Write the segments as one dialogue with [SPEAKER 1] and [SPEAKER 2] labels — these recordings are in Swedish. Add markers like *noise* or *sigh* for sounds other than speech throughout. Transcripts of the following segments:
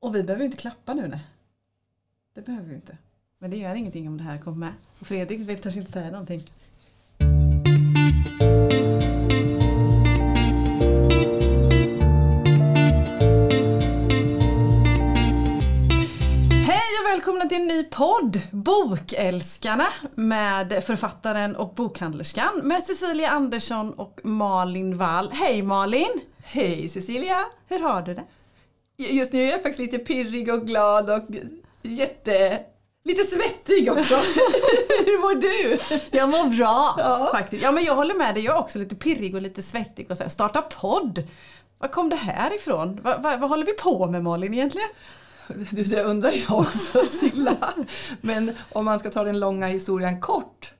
[SPEAKER 1] Och vi behöver ju inte klappa nu nej. Det behöver vi inte. Men det gör ingenting om det här kommer med. Och Fredrik vill kanske inte säga någonting. Hej och välkomna till en ny podd, Bokälskarna, med författaren och bokhandlerskan med Cecilia Andersson och Malin Wall. Hej Malin!
[SPEAKER 2] Hej Cecilia!
[SPEAKER 1] Hur har du det?
[SPEAKER 2] Just nu är jag faktiskt lite pirrig och glad och jätte... Lite svettig också. *laughs* Hur mår du?
[SPEAKER 1] Jag mår bra
[SPEAKER 2] Ja.
[SPEAKER 1] faktiskt. Ja, men jag håller med dig. Jag är också lite pirrig och lite svettig. Och så här, starta podd. Var kom det här ifrån? Va, va, vad håller vi på med Malin egentligen?
[SPEAKER 2] Du, det undrar jag också Silla. Men om man ska ta den långa historien kort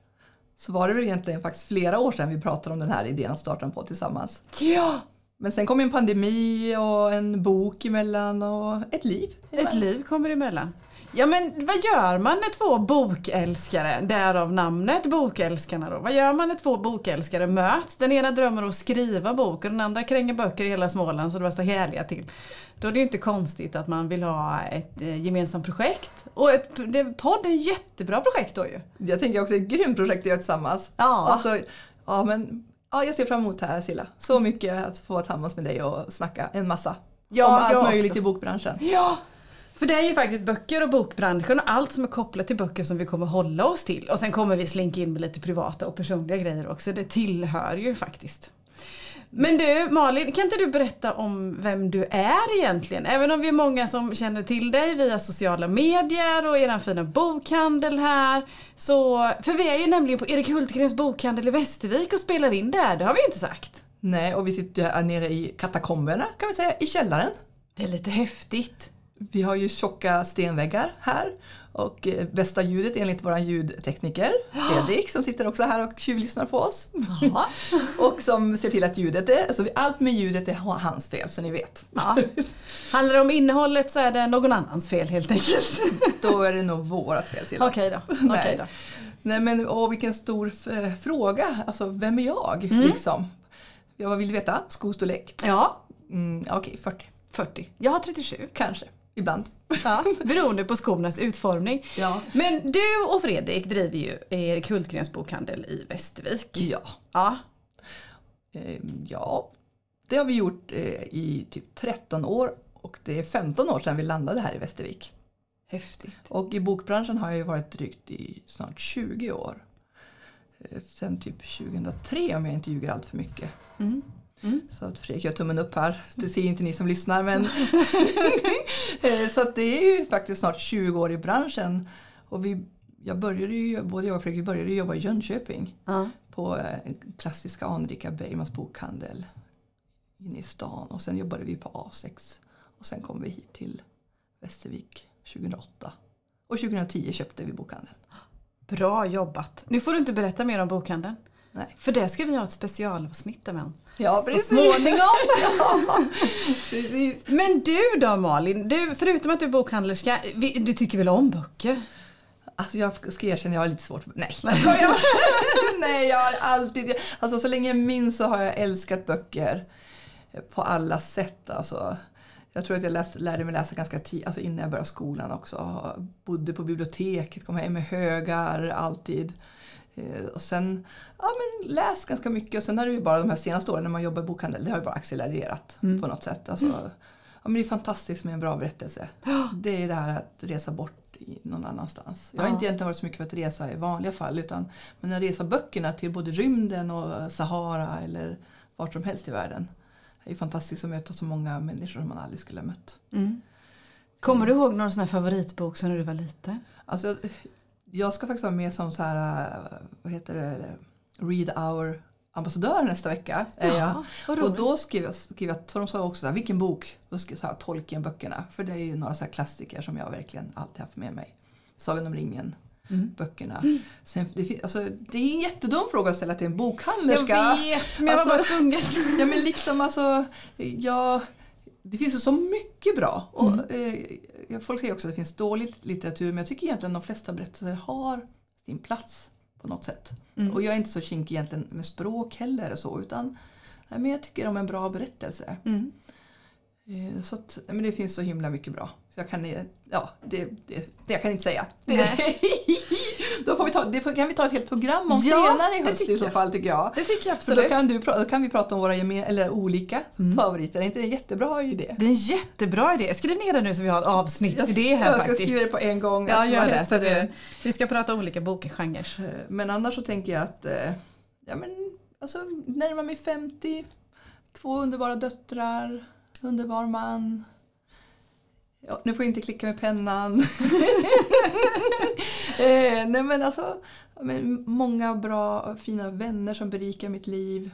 [SPEAKER 2] så var det väl egentligen faktiskt flera år sedan vi pratade om den här idén att starta en podd tillsammans.
[SPEAKER 1] Ja,
[SPEAKER 2] Men sen kom en pandemi och en bok emellan och ett liv.
[SPEAKER 1] ett liv kommer emellan. Ja, men vad gör man när två bokälskare, därav namnet Bokälskarna då. Vad gör man när två bokälskare möts? Den ena drömmer om att skriva bok och den andra kränger böcker i hela Småland så det var så härliga till. Då är det ju inte konstigt att man vill ha ett eh, gemensamt projekt. Och ett, det, podd är ett jättebra projekt då ju.
[SPEAKER 2] Jag tänker också ett grymt projekt att göra tillsammans.
[SPEAKER 1] Ja.
[SPEAKER 2] Alltså, ja, men, ja, jag ser fram emot det här Silla. Så mycket att få vara tillsammans med dig och snacka en massa.
[SPEAKER 1] Ja,
[SPEAKER 2] om allt
[SPEAKER 1] jag
[SPEAKER 2] möjligt
[SPEAKER 1] också.
[SPEAKER 2] i bokbranschen.
[SPEAKER 1] Ja! För det är ju faktiskt böcker och bokbranschen och allt som är kopplat till böcker som vi kommer hålla oss till. Och sen kommer vi slinka in med lite privata och personliga grejer också. Det tillhör ju faktiskt. Men du Malin, kan inte du berätta om vem du är egentligen? Även om vi är många som känner till dig via sociala medier och er fina bokhandel här. Så, för vi är ju nämligen på Erik Hultgrens bokhandel i Västervik och spelar in där, det har vi ju inte sagt.
[SPEAKER 2] Nej, och vi sitter här nere i katakomberna kan vi säga, i källaren.
[SPEAKER 1] Det är lite häftigt.
[SPEAKER 2] Vi har ju tjocka stenväggar här och eh, bästa ljudet enligt vår
[SPEAKER 1] *gasps*
[SPEAKER 2] ljudtekniker Fredrik som sitter också här och tjuvlyssnar på oss.
[SPEAKER 1] Ja.
[SPEAKER 2] Och som ser till att ljudet är, alltså allt med ljudet är hans fel så ni vet.
[SPEAKER 1] Ja. Handlar det om innehållet så är det någon annans fel helt enkelt.
[SPEAKER 2] Då är det nog vårat fel Silla.
[SPEAKER 1] Okej då.
[SPEAKER 2] Nej.
[SPEAKER 1] Okej då.
[SPEAKER 2] Nej men åh, vilken stor f- fråga, alltså vem är jag liksom? Ja, vad vill du veta? Skostorlek?
[SPEAKER 1] Ja,
[SPEAKER 2] Mm, Okej, 40
[SPEAKER 1] 40. Jag har 37.
[SPEAKER 2] kanske, ibland.
[SPEAKER 1] Ja, beroende på skornas utformning.
[SPEAKER 2] *laughs* Ja.
[SPEAKER 1] Men du och Fredrik driver ju Erik Hultgrens bokhandel i Västervik.
[SPEAKER 2] Ja.
[SPEAKER 1] Ja.
[SPEAKER 2] Eh, Ja, det har vi gjort eh, i typ 13 år och det är 15 år sedan vi landade här i Västervik.
[SPEAKER 1] Häftigt.
[SPEAKER 2] Och i bokbranschen har jag ju varit drygt i snart 20 år. Eh, Sen typ 2003 om jag inte ljuger allt för mycket.
[SPEAKER 1] Mm. Mm.
[SPEAKER 2] Så att Fredrik gör tummen upp här. Det ser inte ni som
[SPEAKER 1] *laughs*
[SPEAKER 2] lyssnar men. *laughs* Eh, Så att det är ju faktiskt snart 20 år i branschen. Och vi, jag började ju, både jag och Fredrik vi började ju jobba i Jönköping
[SPEAKER 1] Ja.
[SPEAKER 2] på eh, klassiska anrika Bergmans bokhandel inne i stan och sen jobbade vi på A6 och sen kom vi hit till Västervik 2008 och 2010 köpte vi bokhandeln.
[SPEAKER 1] Bra jobbat. Nu får du inte berätta mer om bokhandeln.
[SPEAKER 2] Nej.
[SPEAKER 1] För det ska vi ha ett specialavsnitt om. än.
[SPEAKER 2] Ja,
[SPEAKER 1] Så småningom.
[SPEAKER 2] *laughs* ja, precis.
[SPEAKER 1] Men du då Malin, du, förutom att du är bokhandlerska, vi- du tycker väl om böcker?
[SPEAKER 2] Alltså jag ska erkänna, jag har lite svårt för... Nej, jag skojar. *laughs* Nej, jag har alltid... Alltså så länge jag minns så har jag älskat böcker på alla sätt. Alltså, jag tror att jag läs, lärde mig läsa ganska tidigt, alltså innan jag började skolan också. Bodde på biblioteket, kom hem med högar alltid. Eh, Och sen, ja men läst ganska mycket och sen har det ju bara de här senaste åren när man jobbar i bokhandel, det har ju bara accelererat på något sätt. Alltså, ja, men det är fantastiskt med en bra berättelse. Det är det här att resa bort i någon annanstans. Jag har
[SPEAKER 1] Ja.
[SPEAKER 2] inte egentligen varit så mycket för att resa i vanliga fall utan men att resa böckerna till både rymden och eh, Sahara eller vart som helst i världen. Det är fantastiskt att möta så många människor som man aldrig skulle ha mött.
[SPEAKER 1] Mm. Kommer du ihåg någon sån här favoritbok sen när du var liten?
[SPEAKER 2] Alltså, jag ska faktiskt vara med som så här, eh, vad heter det, Read Hour ambassadör nästa vecka. Är jag.
[SPEAKER 1] vad
[SPEAKER 2] Och
[SPEAKER 1] roligt.
[SPEAKER 2] då skrev jag, skrev jag de sa också så här, vilken bok? Då skrev jag så här, Tolkien-böckerna. För det är ju några så här klassiker som jag verkligen alltid haft med mig. Sagan om ringen.
[SPEAKER 1] Mm.
[SPEAKER 2] Böckerna. Sen, det, fin- alltså, det är en jättedum fråga att ställa till en bokhandlerska.
[SPEAKER 1] Jag vet, men jag var bara
[SPEAKER 2] Alltså-
[SPEAKER 1] *laughs* tvungen.
[SPEAKER 2] Ja men liksom alltså, ja, det finns ju så mycket bra. Och,
[SPEAKER 1] Mm.
[SPEAKER 2] eh, folk säger också att det finns dålig litteratur men jag tycker egentligen att de flesta berättelser har sin plats på något sätt.
[SPEAKER 1] Mm.
[SPEAKER 2] Och jag är inte så kinkig egentligen
[SPEAKER 1] Mm.
[SPEAKER 2] med språk heller och så utan nej, men jag tycker om en bra berättelse. Eh, Så att, men det finns så himla mycket bra. Så jag, kan, eh, ja, det, det, det jag kan inte säga. Det, *laughs* då får vi ta, det får- kan vi ta ett helt program om
[SPEAKER 1] Ja,
[SPEAKER 2] senare i
[SPEAKER 1] det
[SPEAKER 2] höst
[SPEAKER 1] tycker
[SPEAKER 2] i så
[SPEAKER 1] jag.
[SPEAKER 2] fall tycker jag.
[SPEAKER 1] Det tycker jag
[SPEAKER 2] Så då
[SPEAKER 1] absolut. Mm.
[SPEAKER 2] kan, du, pra- då kan vi prata om våra gemen, eller olika favoriter. Är inte det en jättebra idé?
[SPEAKER 1] Det är en jättebra idé. Skriv ner det nu så vi har ett avsnitt i det här
[SPEAKER 2] jag ska
[SPEAKER 1] faktiskt.
[SPEAKER 2] skriva det på en gång.
[SPEAKER 1] Ja,
[SPEAKER 2] Att
[SPEAKER 1] gör
[SPEAKER 2] vad
[SPEAKER 1] det.
[SPEAKER 2] heter
[SPEAKER 1] Så att vi, vi ska prata olika *laughs* bokgenrer.
[SPEAKER 2] Eh, Men annars så tänker jag att eh, ja, men, alltså, närmar mig 50, två underbara döttrar, underbar man. Ja, nu får jag inte klicka
[SPEAKER 1] *laughs*
[SPEAKER 2] med pennan. eh, nej men alltså, ja, men många bra fina vänner som berikar mitt liv.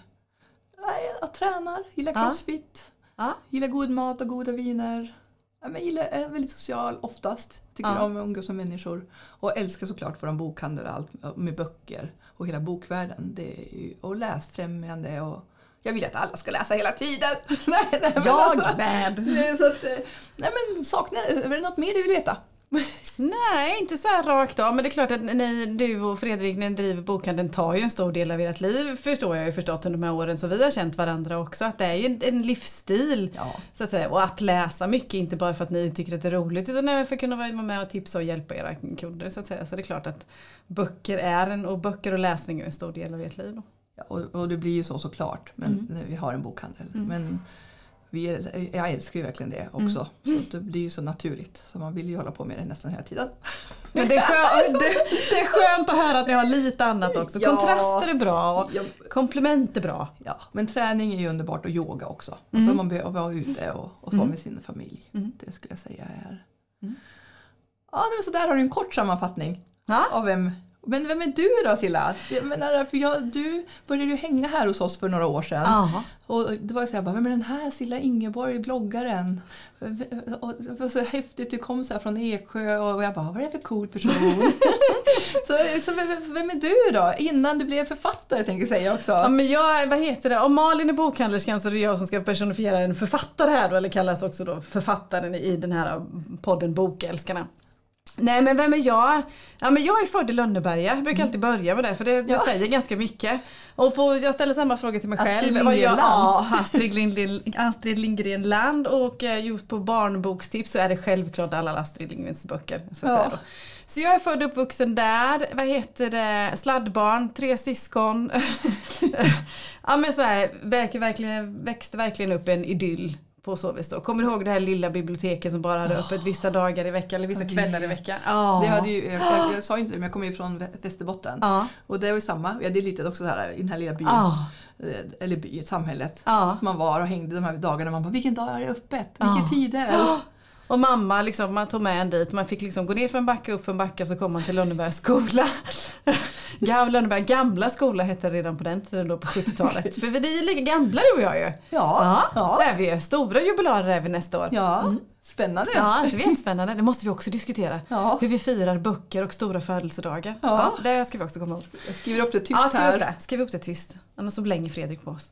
[SPEAKER 2] Nej, Jag tränar, gillar
[SPEAKER 1] Ja.
[SPEAKER 2] crossfit,
[SPEAKER 1] Ja.
[SPEAKER 2] gillar god mat och goda viner. Ja, men gillar, är väldigt social oftast. Tycker
[SPEAKER 1] Ja.
[SPEAKER 2] om att umgås med människor. Och älskar såklart vår bokhandel och allt med böcker. Och hela bokvärlden. Det är ju, och läsfrämjande. Och, jag vill att alla ska läsa hela tiden. *laughs* nej, nej, men alltså,
[SPEAKER 1] Jag med!
[SPEAKER 2] nej, så att, eh, nej men saknar, är det något mer du vill veta?
[SPEAKER 1] Nej, inte så här rakt av. Men det är klart att ni, du och Fredrik, ni driver bokhandeln tar ju en stor del av ert liv förstår jag ju förstått under de här åren som vi har känt varandra också. Att det är ju en, en livsstil.
[SPEAKER 2] Ja.
[SPEAKER 1] Så att säga. Och att läsa mycket, inte bara för att ni tycker att det är roligt utan även för att kunna vara med och tipsa och hjälpa era kunder. Så, att säga. så det är klart att böcker är en, och böcker och läsning är en stor del av ert liv. Då.
[SPEAKER 2] Ja, och, och det blir ju så såklart men när vi har en bokhandel. Men vi, äl- jag älskar ju verkligen det också. Så att det blir ju så naturligt. Så man vill ju hålla på med det nästan hela tiden.
[SPEAKER 1] Men det är, *laughs* skönt, det, det är skönt att höra att ni har lite annat också.
[SPEAKER 2] Ja.
[SPEAKER 1] Kontraster är bra och
[SPEAKER 2] Ja.
[SPEAKER 1] komplement är bra.
[SPEAKER 2] Ja, men träning är ju underbart och yoga också. Och
[SPEAKER 1] Mm.
[SPEAKER 2] så man behöver vara ute och, och vara med sin familj. Det skulle jag säga är...
[SPEAKER 1] Mm.
[SPEAKER 2] Ja, nej, men så där har du en kort sammanfattning
[SPEAKER 1] Ja.
[SPEAKER 2] av vem... Men vem är du då Silla? Jag menar, för jag, du började ju hänga här hos oss för några år sedan.
[SPEAKER 1] Ja.
[SPEAKER 2] Och det var ju så jag bara, vem är den här Silla Ingeborg, bloggaren? Och det var så häftigt, du kom så här från Eksjö och jag bara, vad är det för
[SPEAKER 1] *laughs*
[SPEAKER 2] cool person? så så vem, vem är du då? Innan du blev författare tänker jag säga också.
[SPEAKER 1] Ja, men jag, vad heter det? Om Malin är bokhandlerskan så är det jag som ska personifiera en författare här då, eller kallas också då författaren i den här podden Bokälskarna. Nej men vem är jag? Ja, men jag är född i Lönneberga, jag brukar alltid börja med det för det, det
[SPEAKER 2] Ja.
[SPEAKER 1] säger ganska mycket. Och på, jag ställer samma fråga till mig
[SPEAKER 2] Astrid
[SPEAKER 1] själv. Vad jag,
[SPEAKER 2] Lindgren
[SPEAKER 1] ja, Astrid, Lindgren, Astrid Lindgren Land och eh, just på barnbokstips så är det självklart alla Astrid Lindgrens böcker. Så, att
[SPEAKER 2] Ja.
[SPEAKER 1] säga då. så jag är född och uppvuxen där, vad heter det, sladdbarn, tre syskon. *laughs* ja men så här, verk- verkligen, växte verkligen upp en idyll på så vis då. Kommer du ihåg det här lilla biblioteket som bara hade öppet vissa dagar i veckan eller vissa
[SPEAKER 2] Jag
[SPEAKER 1] kvällar i
[SPEAKER 2] vet.
[SPEAKER 1] veckan? Ja.
[SPEAKER 2] Det hade ju, jag, jag, jag sa ju inte det, men jag kommer ju från Vä- Västerbotten.
[SPEAKER 1] Ja.
[SPEAKER 2] Och det var ju samma, vi hade ju litet också så här, i den här lilla byn.
[SPEAKER 1] Ja.
[SPEAKER 2] Eh, Eller by, samhället.
[SPEAKER 1] Ja.
[SPEAKER 2] Som man var och hängde de här dagarna. Man bara, vilken dag är det öppet? Vilken
[SPEAKER 1] Ja.
[SPEAKER 2] tid är det?
[SPEAKER 1] Och mamma liksom, man tog med en dit. Man fick liksom gå ner för en backe, upp för en backe och så kom man till Lönnebergs skola. *laughs* Gamla, Lönneberg, gamla skola hette det redan på den tiden då
[SPEAKER 2] *laughs*
[SPEAKER 1] på 70-talet. För vi det är ju lika gamla du och jag ju.
[SPEAKER 2] Ja, ja.
[SPEAKER 1] Det är vi ju. Stora jubilarer är vi nästa år.
[SPEAKER 2] ja. spännande.
[SPEAKER 1] Mm. Ja, så det är spännande. Det måste vi också diskutera.
[SPEAKER 2] Ja.
[SPEAKER 1] Hur vi firar böcker och stora födelsedagar.
[SPEAKER 2] Ja.
[SPEAKER 1] det ska vi också komma ihåg.
[SPEAKER 2] Jag skriver upp det tyst
[SPEAKER 1] Ja, skriv
[SPEAKER 2] här.
[SPEAKER 1] upp det. Skriv upp det tyst. Annars så blänger Fredrik på
[SPEAKER 2] *laughs*
[SPEAKER 1] oss.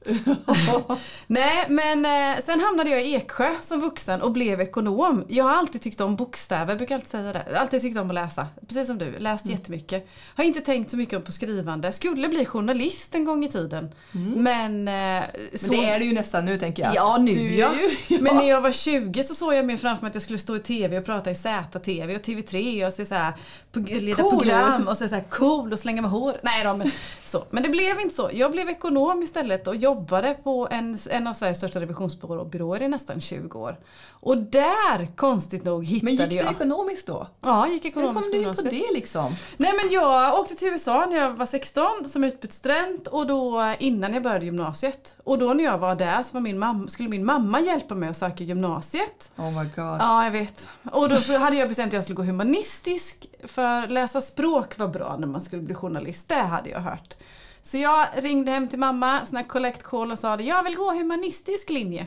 [SPEAKER 1] Nej, men eh, sen hamnade jag i Eksjö som vuxen och blev ekonom. Jag har alltid tyckt om bokstäver, brukar alltid säga det. Jag har Alltid tyckt om att läsa, precis som du. Läst
[SPEAKER 2] Mm.
[SPEAKER 1] jättemycket. Har inte tänkt så mycket på skrivande. Skulle bli journalist en gång i tiden. Men, eh,
[SPEAKER 2] Mm. Men
[SPEAKER 1] så...
[SPEAKER 2] det är det ju nästan nu tänker jag.
[SPEAKER 1] Ja, nu
[SPEAKER 2] Du är
[SPEAKER 1] ja.
[SPEAKER 2] ju- *laughs* ja.
[SPEAKER 1] Men när jag var 20 så såg jag mer framför mig att jag skulle stå i TV och prata i ZTV och TV3 och se så här, på, leda
[SPEAKER 2] Cool.
[SPEAKER 1] program och se så här cool och slänga med hår. Nej då, men *laughs* så. Men det blev inte så. Jag blev ekonom istället och jobbade på en, en av Sveriges största revisionsbyråer i nästan 20 år. Och där, konstigt nog,
[SPEAKER 2] Men
[SPEAKER 1] hittade
[SPEAKER 2] gick du
[SPEAKER 1] jag...
[SPEAKER 2] ekonomiskt då?
[SPEAKER 1] Ja, gick
[SPEAKER 2] Hur kom
[SPEAKER 1] ekonomisk
[SPEAKER 2] du in på
[SPEAKER 1] gymnasiet.
[SPEAKER 2] det liksom?
[SPEAKER 1] Nej men jag åkte till USA när jag var 16 som utbytesstudent och då innan jag började gymnasiet. Och då när jag var där så var min mamma, skulle min mamma hjälpa mig att söka gymnasiet.
[SPEAKER 2] Oh my god.
[SPEAKER 1] Ja, jag vet. Och då så hade jag bestämt att jag skulle gå humanistisk för läsa språk var bra när man skulle bli journalist. Det hade jag hört. Så jag ringde hem till mamma, sån här collect call och sa det, jag vill gå humanistisk linje.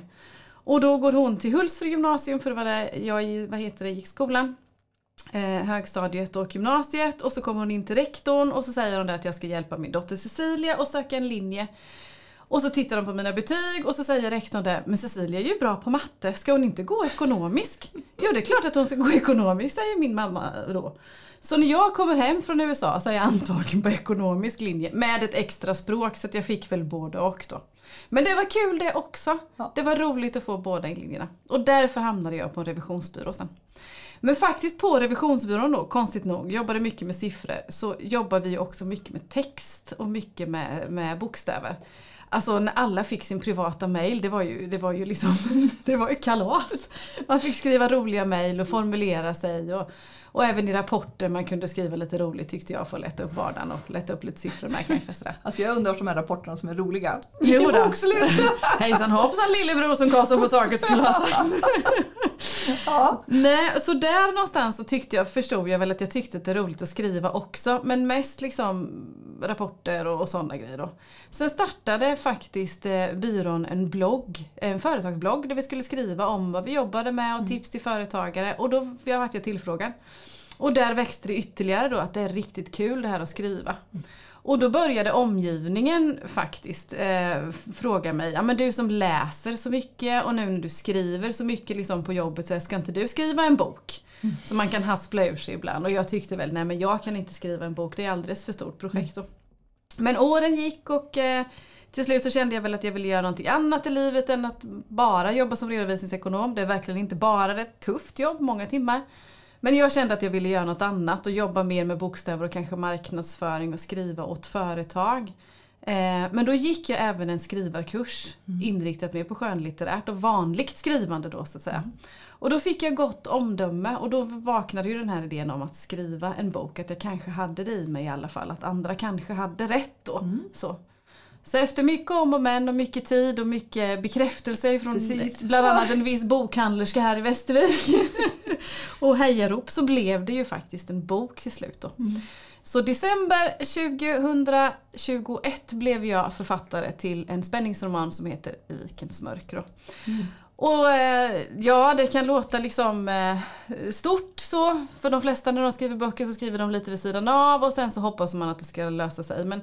[SPEAKER 1] Och då går hon till Hultsfred gymnasium för det var där jag i- vad heter det, gick i skolan. Eh, högstadiet och gymnasiet och så kommer hon in till rektorn och så säger hon där att jag ska hjälpa min dotter Cecilia och söka en linje. Och så tittar de på mina betyg och så säger rektorn det, men Cecilia är ju bra på matte, ska hon inte gå ekonomisk? *laughs* Jo, det är klart att hon ska gå ekonomisk, säger min mamma då. Så när jag kommer hem från USA så är jag antagen på ekonomisk linje med ett extra språk så att jag fick väl både och då. Men det var kul det också.
[SPEAKER 2] Ja.
[SPEAKER 1] Det var roligt att få båda linjerna. Och därför hamnade jag på en revisionsbyrå sen. Men faktiskt på revisionsbyrån då, konstigt nog, jobbade mycket med siffror. Så jobbar vi också mycket med text och mycket med, med bokstäver. Alltså när alla fick sin privata mail, det var ju, det var ju liksom, *laughs* det var ju kalas. Man fick skriva roliga mail och formulera sig. Och, och även i rapporter man kunde skriva lite roligt tyckte jag för att lätta upp vardagen och lätta upp lite siffror med *laughs* kanske sådär.
[SPEAKER 2] Alltså jag undrar om de här rapporterna som är roliga.
[SPEAKER 1] Jo
[SPEAKER 2] I
[SPEAKER 1] då.
[SPEAKER 2] bokslut.
[SPEAKER 1] *laughs* Hejsan hoppsan lillebror som Karlsson på taket skulle *laughs* ha sagt.
[SPEAKER 2] ja.
[SPEAKER 1] Nej, så där någonstans så tyckte jag, förstod jag väl att jag tyckte att det är roligt att skriva också. Men mest liksom rapporter och, och sådana grejer då. Sen startade faktiskt eh, byrån en blogg, en företagsblogg där vi skulle skriva om vad vi jobbade med och tips till företagare. Och då jag vart jag tillfrågad. Och där växte det ytterligare då att det är riktigt kul det här att skriva. Och då började omgivningen faktiskt eh, f- fråga mig, ja men du som läser så mycket och nu när du skriver så mycket liksom på jobbet, så här, ska inte du skriva en bok? Som man kan haspla ur sig ibland. Och jag tyckte väl, nej men jag kan inte skriva en bok, det är alldeles för stort projekt. Då. Men åren gick och eh, till slut så kände jag väl att jag ville göra någonting annat i livet än att bara jobba som redovisningsekonom. Det är verkligen inte bara det, ett tufft jobb, många timmar. Men jag kände att jag ville göra något annat och jobba mer med bokstäver och kanske marknadsföring och skriva åt företag. Eh, Men då gick jag även en skrivarkurs inriktat mer på skönlitterärt och vanligt skrivande då så att säga. Och då fick jag gott omdöme och då vaknade ju den här idén om att skriva en bok, att jag kanske hade det i mig i alla fall, att andra kanske hade rätt då. Så. Så efter mycket om och men och mycket tid och mycket bekräftelse från
[SPEAKER 2] Precis.
[SPEAKER 1] bland annat en viss bokhandlerska här i Västervik *laughs* och hejarop så blev det ju faktiskt en bok till slut. Då. Så december 2021 blev jag författare till en spänningsroman som heter I vikens mörker. Då. Och eh, ja, det kan låta liksom eh, stort så. För de flesta när de skriver böcker så skriver de lite vid sidan av och sen så hoppas man att det ska lösa sig. Men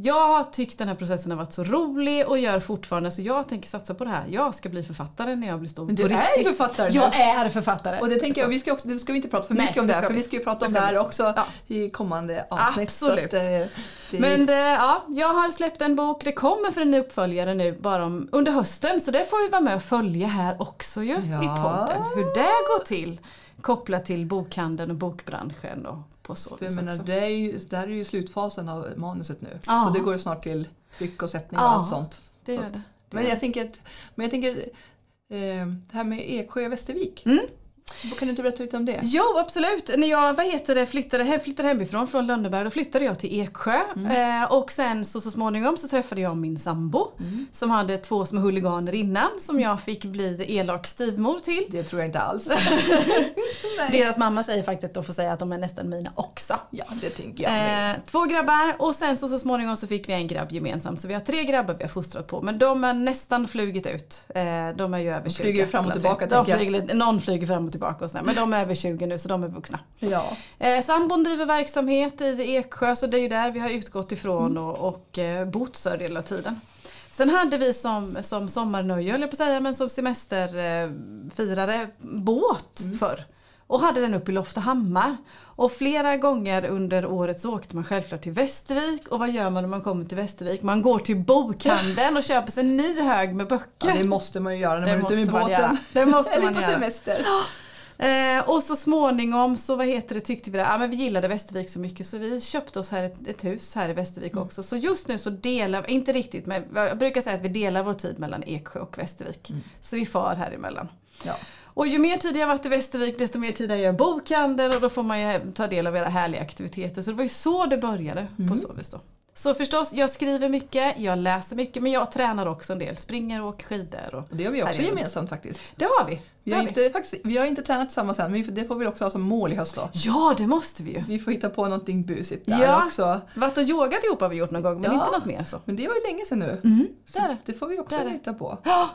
[SPEAKER 1] jag har tyckt den här processen har varit så rolig och gör fortfarande så jag tänker satsa på det här. Jag ska bli författare när jag blir stor
[SPEAKER 2] Men du
[SPEAKER 1] på
[SPEAKER 2] är ju
[SPEAKER 1] riktigt.
[SPEAKER 2] författare nu.
[SPEAKER 1] Jag är författare.
[SPEAKER 2] Och det tänker jag, vi ska, också, nu ska vi inte prata för
[SPEAKER 1] Alltså. Nej,
[SPEAKER 2] mycket om
[SPEAKER 1] det
[SPEAKER 2] det här,
[SPEAKER 1] ska
[SPEAKER 2] för
[SPEAKER 1] vi.
[SPEAKER 2] vi ska ju prata om
[SPEAKER 1] Det
[SPEAKER 2] det
[SPEAKER 1] ska vi.
[SPEAKER 2] här också
[SPEAKER 1] Ja.
[SPEAKER 2] i kommande avsnitt.
[SPEAKER 1] Absolut.
[SPEAKER 2] eh, det,
[SPEAKER 1] Men det, ja, jag har släppt en bok. Det kommer för en uppföljare nu bara om, under hösten. Så det får vi vara med och följa här också ju i
[SPEAKER 2] Ja.
[SPEAKER 1] podden. Hur det går till. Kopplat till bokhandeln och bokbranschen och på så
[SPEAKER 2] för jag
[SPEAKER 1] vis
[SPEAKER 2] menar,
[SPEAKER 1] också.
[SPEAKER 2] det, är ju, det här är ju slutfasen av manuset nu.
[SPEAKER 1] Ja.
[SPEAKER 2] Så det går ju snart till tryck och sättning och
[SPEAKER 1] Ja,
[SPEAKER 2] allt sånt.
[SPEAKER 1] Det
[SPEAKER 2] Så
[SPEAKER 1] gör
[SPEAKER 2] att-
[SPEAKER 1] det.
[SPEAKER 2] Men jag tänker, att, men jag tänker eh, det här med Eksjö och Västervik.
[SPEAKER 1] Mm.
[SPEAKER 2] Kan du inte berätta lite om det?
[SPEAKER 1] Jo absolut. När jag vad heter det, flyttade, hem, flyttade hemifrån från Lönneberg då flyttade jag till Eksjö.
[SPEAKER 2] Mm.
[SPEAKER 1] Eh, och sen så, så småningom så träffade jag min sambo
[SPEAKER 2] Mm.
[SPEAKER 1] som hade två små huliganer innan som jag fick bli elak styvmor till.
[SPEAKER 2] Det tror jag
[SPEAKER 1] *laughs*
[SPEAKER 2] inte alls. Nej.
[SPEAKER 1] Deras mamma säger faktiskt att de får säga att de är nästan mina också.
[SPEAKER 2] Ja, det tänker jag. med.
[SPEAKER 1] Eh, två grabbar och sen så, så småningom så fick vi en grabb gemensamt. Så vi har tre grabbar vi har fostrat på. Men de har nästan flugit ut. Eh, de är ju över 20.
[SPEAKER 2] flyger ju fram och
[SPEAKER 1] alla tre.
[SPEAKER 2] tillbaka,
[SPEAKER 1] de
[SPEAKER 2] tänker jag.
[SPEAKER 1] flyger, lite- Någon flyger fram och tillbaka och sådär. Men de är över 20 nu så de är vuxna.
[SPEAKER 2] Ja.
[SPEAKER 1] Eh, sambon driver verksamhet i Eksjö så det är ju där vi har utgått ifrån
[SPEAKER 2] Mm.
[SPEAKER 1] och, och eh, bott större delen av tiden. Sen hade vi som, som sommarnöje, höll jag på att säga, men som semesterfirare eh, firare, båt
[SPEAKER 2] Mm.
[SPEAKER 1] förr. Och hade den uppe i Loftahammar. Och flera gånger under året så åkte man självklart till Västervik. Och vad gör man när man kommer till Västervik? Man går till bokhandeln och köper sig en ny hög med böcker.
[SPEAKER 2] ja, det måste man ju göra när man är ute med
[SPEAKER 1] måste man göra.
[SPEAKER 2] båten.
[SPEAKER 1] Det måste
[SPEAKER 2] *laughs* Eller
[SPEAKER 1] man
[SPEAKER 2] på
[SPEAKER 1] göra.
[SPEAKER 2] semester.
[SPEAKER 1] Eh, och så småningom så vad heter det, tyckte vi det. Ja, men vi gillade Västervik så mycket så vi köpte oss här ett, ett hus här i Västervik också. Så just nu så delar inte riktigt men jag brukar säga att vi delar vår tid mellan Eksjö och Västervik. Så vi far här emellan.
[SPEAKER 2] Ja.
[SPEAKER 1] Och ju mer tid jag har varit i Västervik desto mer tid har jag gör bokhandel och då får man ju ta del av era härliga aktiviteter. Så det var ju så det började på så vis då. Så förstås, jag skriver mycket, jag läser mycket men jag tränar också en del. Springer och åker skidor. Och...
[SPEAKER 2] Och det gör vi också
[SPEAKER 1] Herregud.
[SPEAKER 2] gemensamt faktiskt.
[SPEAKER 1] Det har vi.
[SPEAKER 2] Vi
[SPEAKER 1] Det
[SPEAKER 2] har,
[SPEAKER 1] har vi.
[SPEAKER 2] inte, faktiskt, vi har inte tränat tillsammans än, men vi- det får vi också ha som mål i höst då.
[SPEAKER 1] Ja, det måste vi ju.
[SPEAKER 2] Vi får hitta på någonting busigt där
[SPEAKER 1] Ja.
[SPEAKER 2] också.
[SPEAKER 1] Varit och yogat ihop har vi gjort någon gång men
[SPEAKER 2] Ja.
[SPEAKER 1] inte något mer så.
[SPEAKER 2] Mm, Men det var ju länge sedan nu.
[SPEAKER 1] det är
[SPEAKER 2] det får vi också
[SPEAKER 1] Det är det.
[SPEAKER 2] hitta på.
[SPEAKER 1] Ja.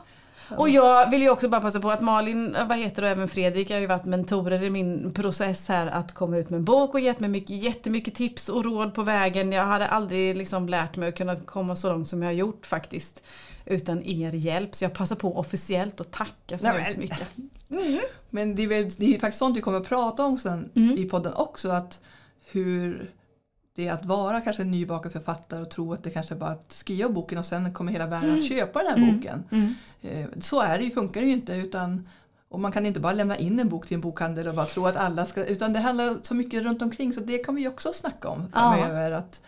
[SPEAKER 1] Och jag vill ju också bara passa på att Malin vad heter det, och även Fredrik har ju varit mentorer i min process här att komma ut med en bok och gett mig mycket, jättemycket tips och råd på vägen. Jag hade aldrig liksom lärt mig att kunna komma så långt som jag har gjort faktiskt utan er hjälp. Så jag passar på officiellt att tacka så
[SPEAKER 2] Nej,
[SPEAKER 1] hemskt
[SPEAKER 2] men-
[SPEAKER 1] mycket.
[SPEAKER 2] Men det är, väl, det är faktiskt sånt vi kommer att prata om sen
[SPEAKER 1] Mm.
[SPEAKER 2] i podden också. Att hur det är att vara kanske en nybakad författare och tro att det kanske är bara att skriva boken och sen kommer hela
[SPEAKER 1] Mm.
[SPEAKER 2] världen att köpa den här boken. Eh, Så är det ju, funkar det ju inte. Utan, och man kan inte bara lämna in en bok till en bokhandel och bara tro att alla ska... Utan det handlar så mycket runt omkring så det kan vi också snacka om
[SPEAKER 1] Ja.
[SPEAKER 2] framöver. Att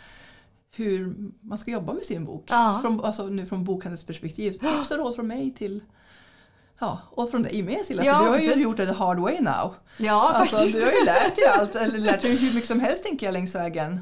[SPEAKER 2] hur man ska jobba med sin bok.
[SPEAKER 1] Ja.
[SPEAKER 2] Från, alltså nu från bokhandelsperspektiv. Tips och råd från mig till Ja, och från dig med Silla,
[SPEAKER 1] Ja,
[SPEAKER 2] för du har
[SPEAKER 1] precis.
[SPEAKER 2] ju gjort det the hard way now.
[SPEAKER 1] Ja,
[SPEAKER 2] Alltså,
[SPEAKER 1] faktiskt.
[SPEAKER 2] du har ju lärt dig
[SPEAKER 1] *laughs*
[SPEAKER 2] allt, eller lärt dig hur mycket som helst tänker jag längs vägen.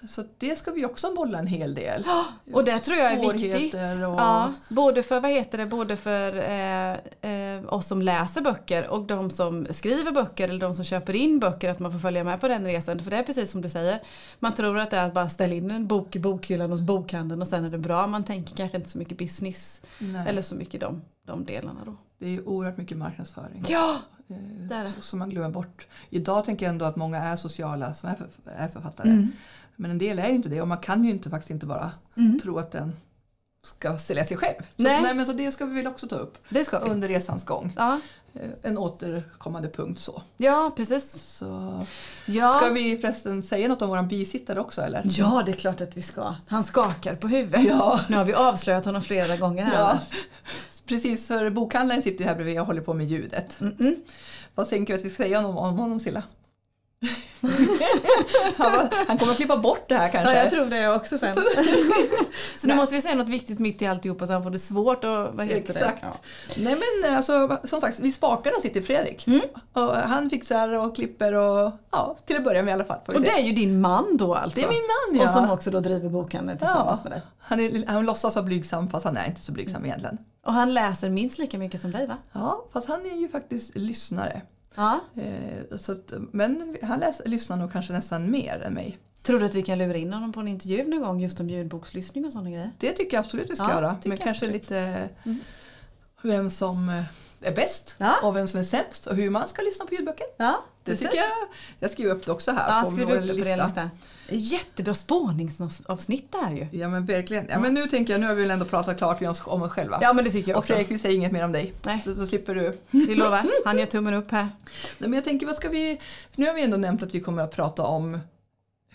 [SPEAKER 2] Så- Så det ska vi också bolla en hel del.
[SPEAKER 1] Och det tror jag är viktigt.
[SPEAKER 2] Svårigheter och-
[SPEAKER 1] Ja, både för, vad heter det, både för eh, eh, oss som läser böcker och de som skriver böcker eller de som köper in böcker att man får följa med på den resan. För det är precis som du säger. Man tror att det är att bara ställa in en bok i bokhyllan hos bokhandeln och sen är det bra. Man tänker kanske inte så mycket business
[SPEAKER 2] Nej,
[SPEAKER 1] eller så mycket de, de delarna då.
[SPEAKER 2] det är ju oerhört mycket marknadsföring
[SPEAKER 1] Ja,
[SPEAKER 2] eh,
[SPEAKER 1] det är det.
[SPEAKER 2] så- som man glömmer bort. Idag tänker jag ändå att många är sociala som är, förf- är författare.
[SPEAKER 1] Mm.
[SPEAKER 2] Men en del är ju inte det och man kan ju inte, faktiskt inte bara tro att den ska sälja sig själv. Så,
[SPEAKER 1] Mm. Nej.
[SPEAKER 2] nej. men så det ska vi väl också ta upp
[SPEAKER 1] det ska vi.
[SPEAKER 2] under resans gång.
[SPEAKER 1] Ja,
[SPEAKER 2] Eh, En återkommande punkt så.
[SPEAKER 1] ja precis.
[SPEAKER 2] så.
[SPEAKER 1] Ja.
[SPEAKER 2] Ska vi förresten säga något om våran bisittare också eller?
[SPEAKER 1] Ja, det är klart att vi ska. Han skakar på huvudet.
[SPEAKER 2] Ja.
[SPEAKER 1] Nu har vi avslöjat honom flera gånger här.
[SPEAKER 2] Ja, precis för bokhandlaren sitter ju här bredvid och håller på med ljudet. Vad tänker du att vi ska säga om, om honom Silla? *laughs* han, var- han kommer att klippa bort det här kanske.
[SPEAKER 1] Ja, jag tror det jag också sen. *laughs* så nu måste vi säga något viktigt mitt i alltihopa så han får det svårt och vad heter
[SPEAKER 2] Exakt.
[SPEAKER 1] det? Ja.
[SPEAKER 2] Nej men alltså, som sagt, vid spakarna sitter Fredrik.
[SPEAKER 1] Mm.
[SPEAKER 2] Och han fixar och klipper och ja, till att börja med i alla fall. Får vi
[SPEAKER 1] Och det
[SPEAKER 2] säga.
[SPEAKER 1] är ju din man då alltså?
[SPEAKER 2] det är min man
[SPEAKER 1] Och
[SPEAKER 2] ja.
[SPEAKER 1] som också då driver bokhandeln tillsammans
[SPEAKER 2] ja.
[SPEAKER 1] med dig. Mm.
[SPEAKER 2] Han, är, han låtsas vara blygsam fast han är inte så blygsam egentligen.
[SPEAKER 1] Och han läser minst lika mycket som dig va?
[SPEAKER 2] Ja, fast han är ju faktiskt lyssnare.
[SPEAKER 1] Ja.
[SPEAKER 2] Eh, så att, men han läs, lyssnar nog kanske nästan mer än mig.
[SPEAKER 1] Tror du att vi kan lura in honom på en intervju någon gång just om ljudbokslyssning och sådana grejer?
[SPEAKER 2] Det tycker jag absolut vi ska
[SPEAKER 1] Ja,
[SPEAKER 2] göra.
[SPEAKER 1] tycker
[SPEAKER 2] Men
[SPEAKER 1] jag
[SPEAKER 2] kanske
[SPEAKER 1] absolut. Mm.
[SPEAKER 2] lite vem som eh, är bäst
[SPEAKER 1] Ja.
[SPEAKER 2] och vem som är sämst och hur man ska lyssna på ljudböcker.
[SPEAKER 1] Ja,
[SPEAKER 2] Det tycker jag. Jag skriver upp det också här
[SPEAKER 1] Ja,
[SPEAKER 2] på
[SPEAKER 1] skriv
[SPEAKER 2] vår
[SPEAKER 1] upp det på din lista. Jättebra spåningsavsnitt det här ju.
[SPEAKER 2] Ja men verkligen. Ja, men nu tänker jag, nu har vi väl ändå pratat klart om oss, om oss själva.
[SPEAKER 1] Ja men det tycker jag
[SPEAKER 2] och
[SPEAKER 1] också.
[SPEAKER 2] Fredrik, vi säger inget mer om dig.
[SPEAKER 1] Nej.
[SPEAKER 2] Så, så slipper du.
[SPEAKER 1] *laughs* Vi lovar, han gör tummen upp här.
[SPEAKER 2] Nej, men jag tänker, vad ska vi... Nu har vi ändå nämnt att vi kommer att prata om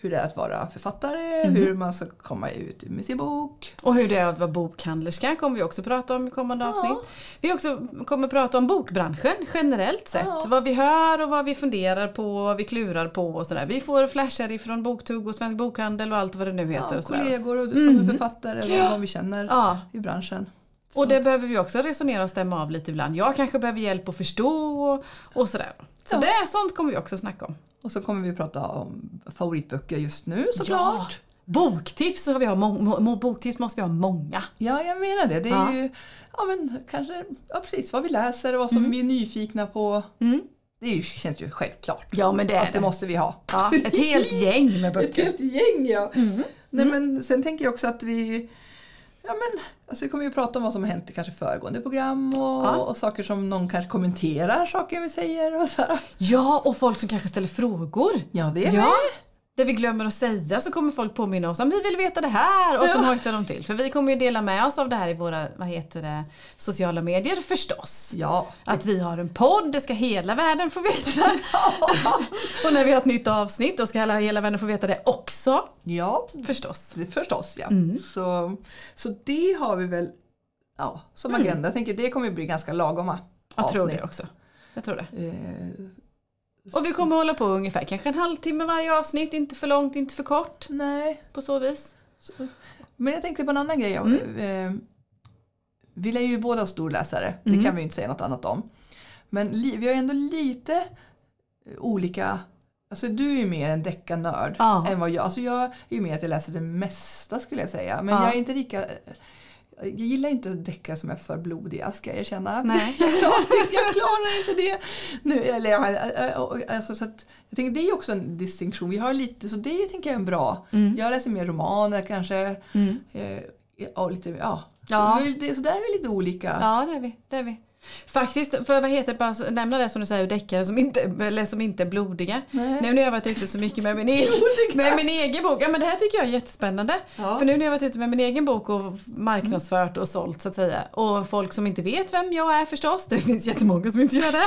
[SPEAKER 2] hur det är att vara författare,
[SPEAKER 1] Mhm.
[SPEAKER 2] hur man ska komma ut med sin bok,
[SPEAKER 1] Och hur det är att vara bokhandlerska kommer vi också prata om i kommande
[SPEAKER 2] Ja.
[SPEAKER 1] avsnitt. Vi också kommer prata om bokbranschen generellt sett.
[SPEAKER 2] Ja.
[SPEAKER 1] Vad vi hör och vad vi funderar på och vad vi klurar på och sådär. Vi får flashar ifrån Boktugg och Svensk Bokhandel och allt vad det nu heter.
[SPEAKER 2] ja,
[SPEAKER 1] och sådär.
[SPEAKER 2] kollegor och Mm. författare och vad vi känner
[SPEAKER 1] Ja.
[SPEAKER 2] i branschen.
[SPEAKER 1] Och det behöver vi också resonera och stämma av lite ibland. Jag kanske behöver hjälp att förstå och, och sådär. Så
[SPEAKER 2] Ja.
[SPEAKER 1] det är sånt kommer vi också snacka om.
[SPEAKER 2] Och så kommer vi att prata om favoritböcker just nu såklart.
[SPEAKER 1] Ja. Boktips, så har vi ha må- må- må- boktips måste vi ha många.
[SPEAKER 2] Ja, jag menar det. Det är
[SPEAKER 1] Ja.
[SPEAKER 2] ju ja, men kanske ja, precis vad vi läser och vad som vi är nyfikna på. Det är ju, känns ju självklart.
[SPEAKER 1] Ja men det är
[SPEAKER 2] Att det måste vi ha.
[SPEAKER 1] Ja, ett
[SPEAKER 2] *laughs*
[SPEAKER 1] helt gäng med
[SPEAKER 2] Ett
[SPEAKER 1] böcker.
[SPEAKER 2] helt gäng ja. Nej, men sen tänker jag också att vi Ja, men, alltså vi kommer ju prata om vad som har hänt i kanske föregående program och,
[SPEAKER 1] Ja.
[SPEAKER 2] och saker som någon kanske kommenterar, saker vi säger och så här.
[SPEAKER 1] Ja, och folk som kanske ställer frågor.
[SPEAKER 2] Ja, det är
[SPEAKER 1] Ja, det vi glömmer att säga så kommer folk påminna oss om vi vill veta det här och sen hojtar de till. För vi kommer ju dela med oss av det här i våra vad heter det, sociala medier förstås.
[SPEAKER 2] Ja,
[SPEAKER 1] Att vi har en podd, det ska hela världen få veta.
[SPEAKER 2] *laughs*
[SPEAKER 1] *laughs* och när vi har ett nytt avsnitt då ska hela, hela världen få veta det också
[SPEAKER 2] ja
[SPEAKER 1] förstås.
[SPEAKER 2] Det- Förstås ja.
[SPEAKER 1] Mm.
[SPEAKER 2] Så, så det har vi väl ja, som
[SPEAKER 1] Mm.
[SPEAKER 2] agenda. Jag tänker det kommer bli ganska lagoma
[SPEAKER 1] Jag tror
[SPEAKER 2] avsnitt.
[SPEAKER 1] det också. Jag tror det.
[SPEAKER 2] Eh,
[SPEAKER 1] Och vi kommer hålla på ungefär kanske en halvtimme varje avsnitt, inte för långt, inte för kort
[SPEAKER 2] nej,
[SPEAKER 1] på så vis.
[SPEAKER 2] så, men jag tänkte på en annan grej.
[SPEAKER 1] Mm.
[SPEAKER 2] Eh, vi är ju båda storläsare,
[SPEAKER 1] Mm.
[SPEAKER 2] det kan vi ju inte säga något annat om. Men li, vi har ju ändå lite eh, olika Alltså du är ju mer en deckarnörd
[SPEAKER 1] Ja.
[SPEAKER 2] än vad jag Alltså jag är ju mer att jag läser det mesta skulle jag säga. Men
[SPEAKER 1] Ja.
[SPEAKER 2] jag är inte lika Jag gillar inte deckare som är för blodiga ska jag erkänna.
[SPEAKER 1] Nej.
[SPEAKER 2] *laughs* jag, klarar, jag klarar inte det. Nu, eller, jag- eh, och- alltså, så att, jag tänker, det är ju också en distinktion. Vi har lite, så det
[SPEAKER 1] Mm.
[SPEAKER 2] är ju, tänker jag är en bra. Jag läser mer romaner kanske. Eh, och lite, ja,
[SPEAKER 1] Ja.
[SPEAKER 2] Så, det, så där är vi lite olika.
[SPEAKER 1] Ja, det är vi. Det är vi. Faktiskt, för vad heter bara så- nämna det som du säger, deckare som inte, eller som inte är blodiga.
[SPEAKER 2] Nej.
[SPEAKER 1] Nu när jag har varit ute så mycket med min,
[SPEAKER 2] *laughs*
[SPEAKER 1] e- med min egen bok. Ja, men det här tycker jag är jättespännande.
[SPEAKER 2] Ja.
[SPEAKER 1] För nu när jag har varit ute med min egen bok och marknadsfört och sålt så att säga. Och folk som inte vet vem jag är förstås. Det finns jättemånga som inte gör det.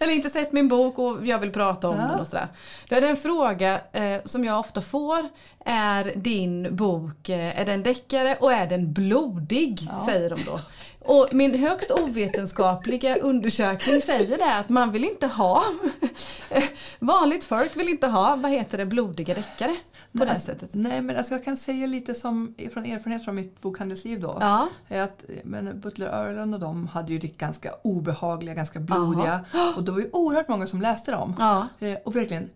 [SPEAKER 1] *laughs* eller inte sett min bok och jag vill prata om
[SPEAKER 2] Ja.
[SPEAKER 1] den och sådär. Då är det en fråga eh, som jag ofta får. Är din bok, eh, är den deckare och är den blodig?
[SPEAKER 2] Ja.
[SPEAKER 1] Säger de då. Och min högst ovetenskapliga undersökning säger det att man vill inte ha *laughs* vanligt folk vill inte ha, vad heter det, blodiga deckare på
[SPEAKER 2] Men
[SPEAKER 1] det
[SPEAKER 2] alltså,
[SPEAKER 1] sättet.
[SPEAKER 2] Nej, men alltså jag kan säga lite som, från erfarenhet från mitt bokhandelsliv då.
[SPEAKER 1] Ja.
[SPEAKER 2] är att men Butler Ireland och de hade ju riktigt ganska obehagliga, ganska blodiga. Och det var ju oerhört många som läste dem.
[SPEAKER 1] Ja.
[SPEAKER 2] Eh, Och verkligen,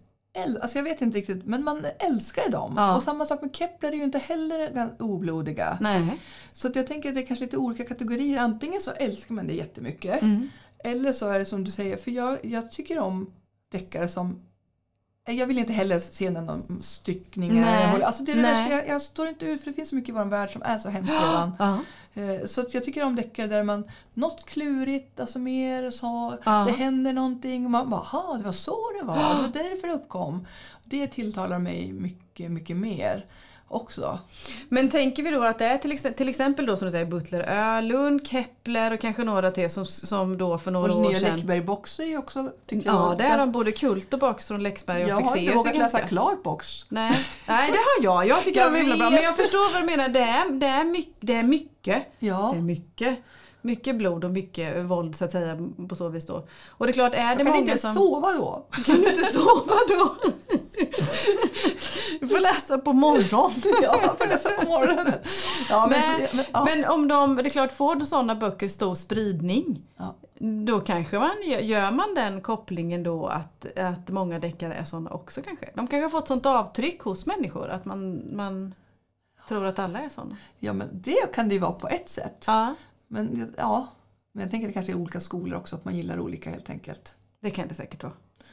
[SPEAKER 2] äl- alltså jag vet inte riktigt, men man älskar dem.
[SPEAKER 1] Ja.
[SPEAKER 2] Och samma sak med Kepler är ju inte heller gan- oblodiga.
[SPEAKER 1] Nej.
[SPEAKER 2] Så att jag tänker att det är kanske lite olika kategorier. Antingen så älskar man det jättemycket.
[SPEAKER 1] Mm.
[SPEAKER 2] Eller så är det som du säger, för jag, jag tycker om deckare som eh, jag vill inte heller se någon styckningar.
[SPEAKER 1] Nej.
[SPEAKER 2] håller- Alltså det är det
[SPEAKER 1] Nej.
[SPEAKER 2] värsta. Jag, jag står inte ut för det finns så mycket i vår värld som är
[SPEAKER 1] *gasps*
[SPEAKER 2] så hemskt redan.
[SPEAKER 1] Ja.
[SPEAKER 2] Eh, Så att jag tycker om deckare där man något klurigt, alltså mer så,
[SPEAKER 1] Ja.
[SPEAKER 2] det händer någonting och man bara "Aha, det var så
[SPEAKER 1] *gasps*
[SPEAKER 2] det var, det var därför det uppkom. Det tilltalar mig mycket, mycket mer också.
[SPEAKER 1] Men tänker vi då att det är till, ex- till exempel då som du säger Butler Ölund, Kepler och kanske några till som, som då för några
[SPEAKER 2] Och
[SPEAKER 1] år
[SPEAKER 2] nya
[SPEAKER 1] sedan.
[SPEAKER 2] Läckberg Box är ju också, tycker
[SPEAKER 1] Ja,
[SPEAKER 2] jag,
[SPEAKER 1] det är de
[SPEAKER 2] ganska-
[SPEAKER 1] både Kult och Box från Läxberg och
[SPEAKER 2] Jag har inte
[SPEAKER 1] Fexeus.
[SPEAKER 2] vågat läsa klart Box.
[SPEAKER 1] Nej. Nej, det har jag. Jag tycker de är himla bra.
[SPEAKER 2] Jag
[SPEAKER 1] Men
[SPEAKER 2] vet.
[SPEAKER 1] jag förstår vad du menar. Det är, det är, mycket, det är mycket.
[SPEAKER 2] Ja.
[SPEAKER 1] Det är mycket. Mycket blod och mycket eh, våld så att säga på så vis då. Och det är klart, är det
[SPEAKER 2] Jag kan
[SPEAKER 1] många
[SPEAKER 2] inte
[SPEAKER 1] som...
[SPEAKER 2] sova då. *laughs*
[SPEAKER 1] Kan du inte sova då? *laughs* Du får läsa på morgonen.
[SPEAKER 2] ja, jag får läsa på morgonen. Ja, men,
[SPEAKER 1] Nej,
[SPEAKER 2] så, men, ja.
[SPEAKER 1] Men om de, det är klart, får sådana böcker stor spridning
[SPEAKER 2] Ja.
[SPEAKER 1] då kanske man, gör- gör man den kopplingen då att, att många deckare är sådana också kanske? De kanske har fått sånt avtryck hos människor att man, man tror att alla är sådana.
[SPEAKER 2] ja, men det kan det ju vara på ett sätt.
[SPEAKER 1] Ja.
[SPEAKER 2] Men, ja. men jag tänker det kanske är olika skolor också, att man gillar olika helt enkelt.
[SPEAKER 1] Det kan det säkert vara.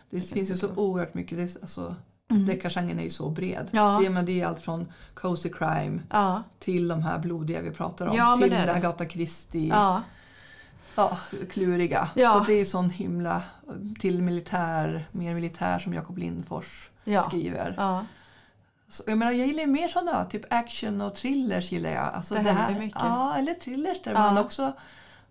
[SPEAKER 2] Det finns ju så oerhört mycket. Det är, alltså, Deckargenren är ju så bred.
[SPEAKER 1] Mm. Ja.
[SPEAKER 2] Det, men det är allt från cozy crime
[SPEAKER 1] Ja,
[SPEAKER 2] till de här blodiga vi pratar om.
[SPEAKER 1] Ja, men
[SPEAKER 2] till
[SPEAKER 1] det är det.
[SPEAKER 2] Agatha Christie. Ja.
[SPEAKER 1] ja,
[SPEAKER 2] kluriga.
[SPEAKER 1] Ja.
[SPEAKER 2] Så det är sån himla... Till militär, mer militär som Jakob Lindfors
[SPEAKER 1] Ja.
[SPEAKER 2] skriver.
[SPEAKER 1] ja.
[SPEAKER 2] Så, jag, menar, jag gillar ju mer sådana, typ action och thrillers gillar jag. Alltså,
[SPEAKER 1] Det händer mycket.
[SPEAKER 2] Ja, eller thrillers där man också...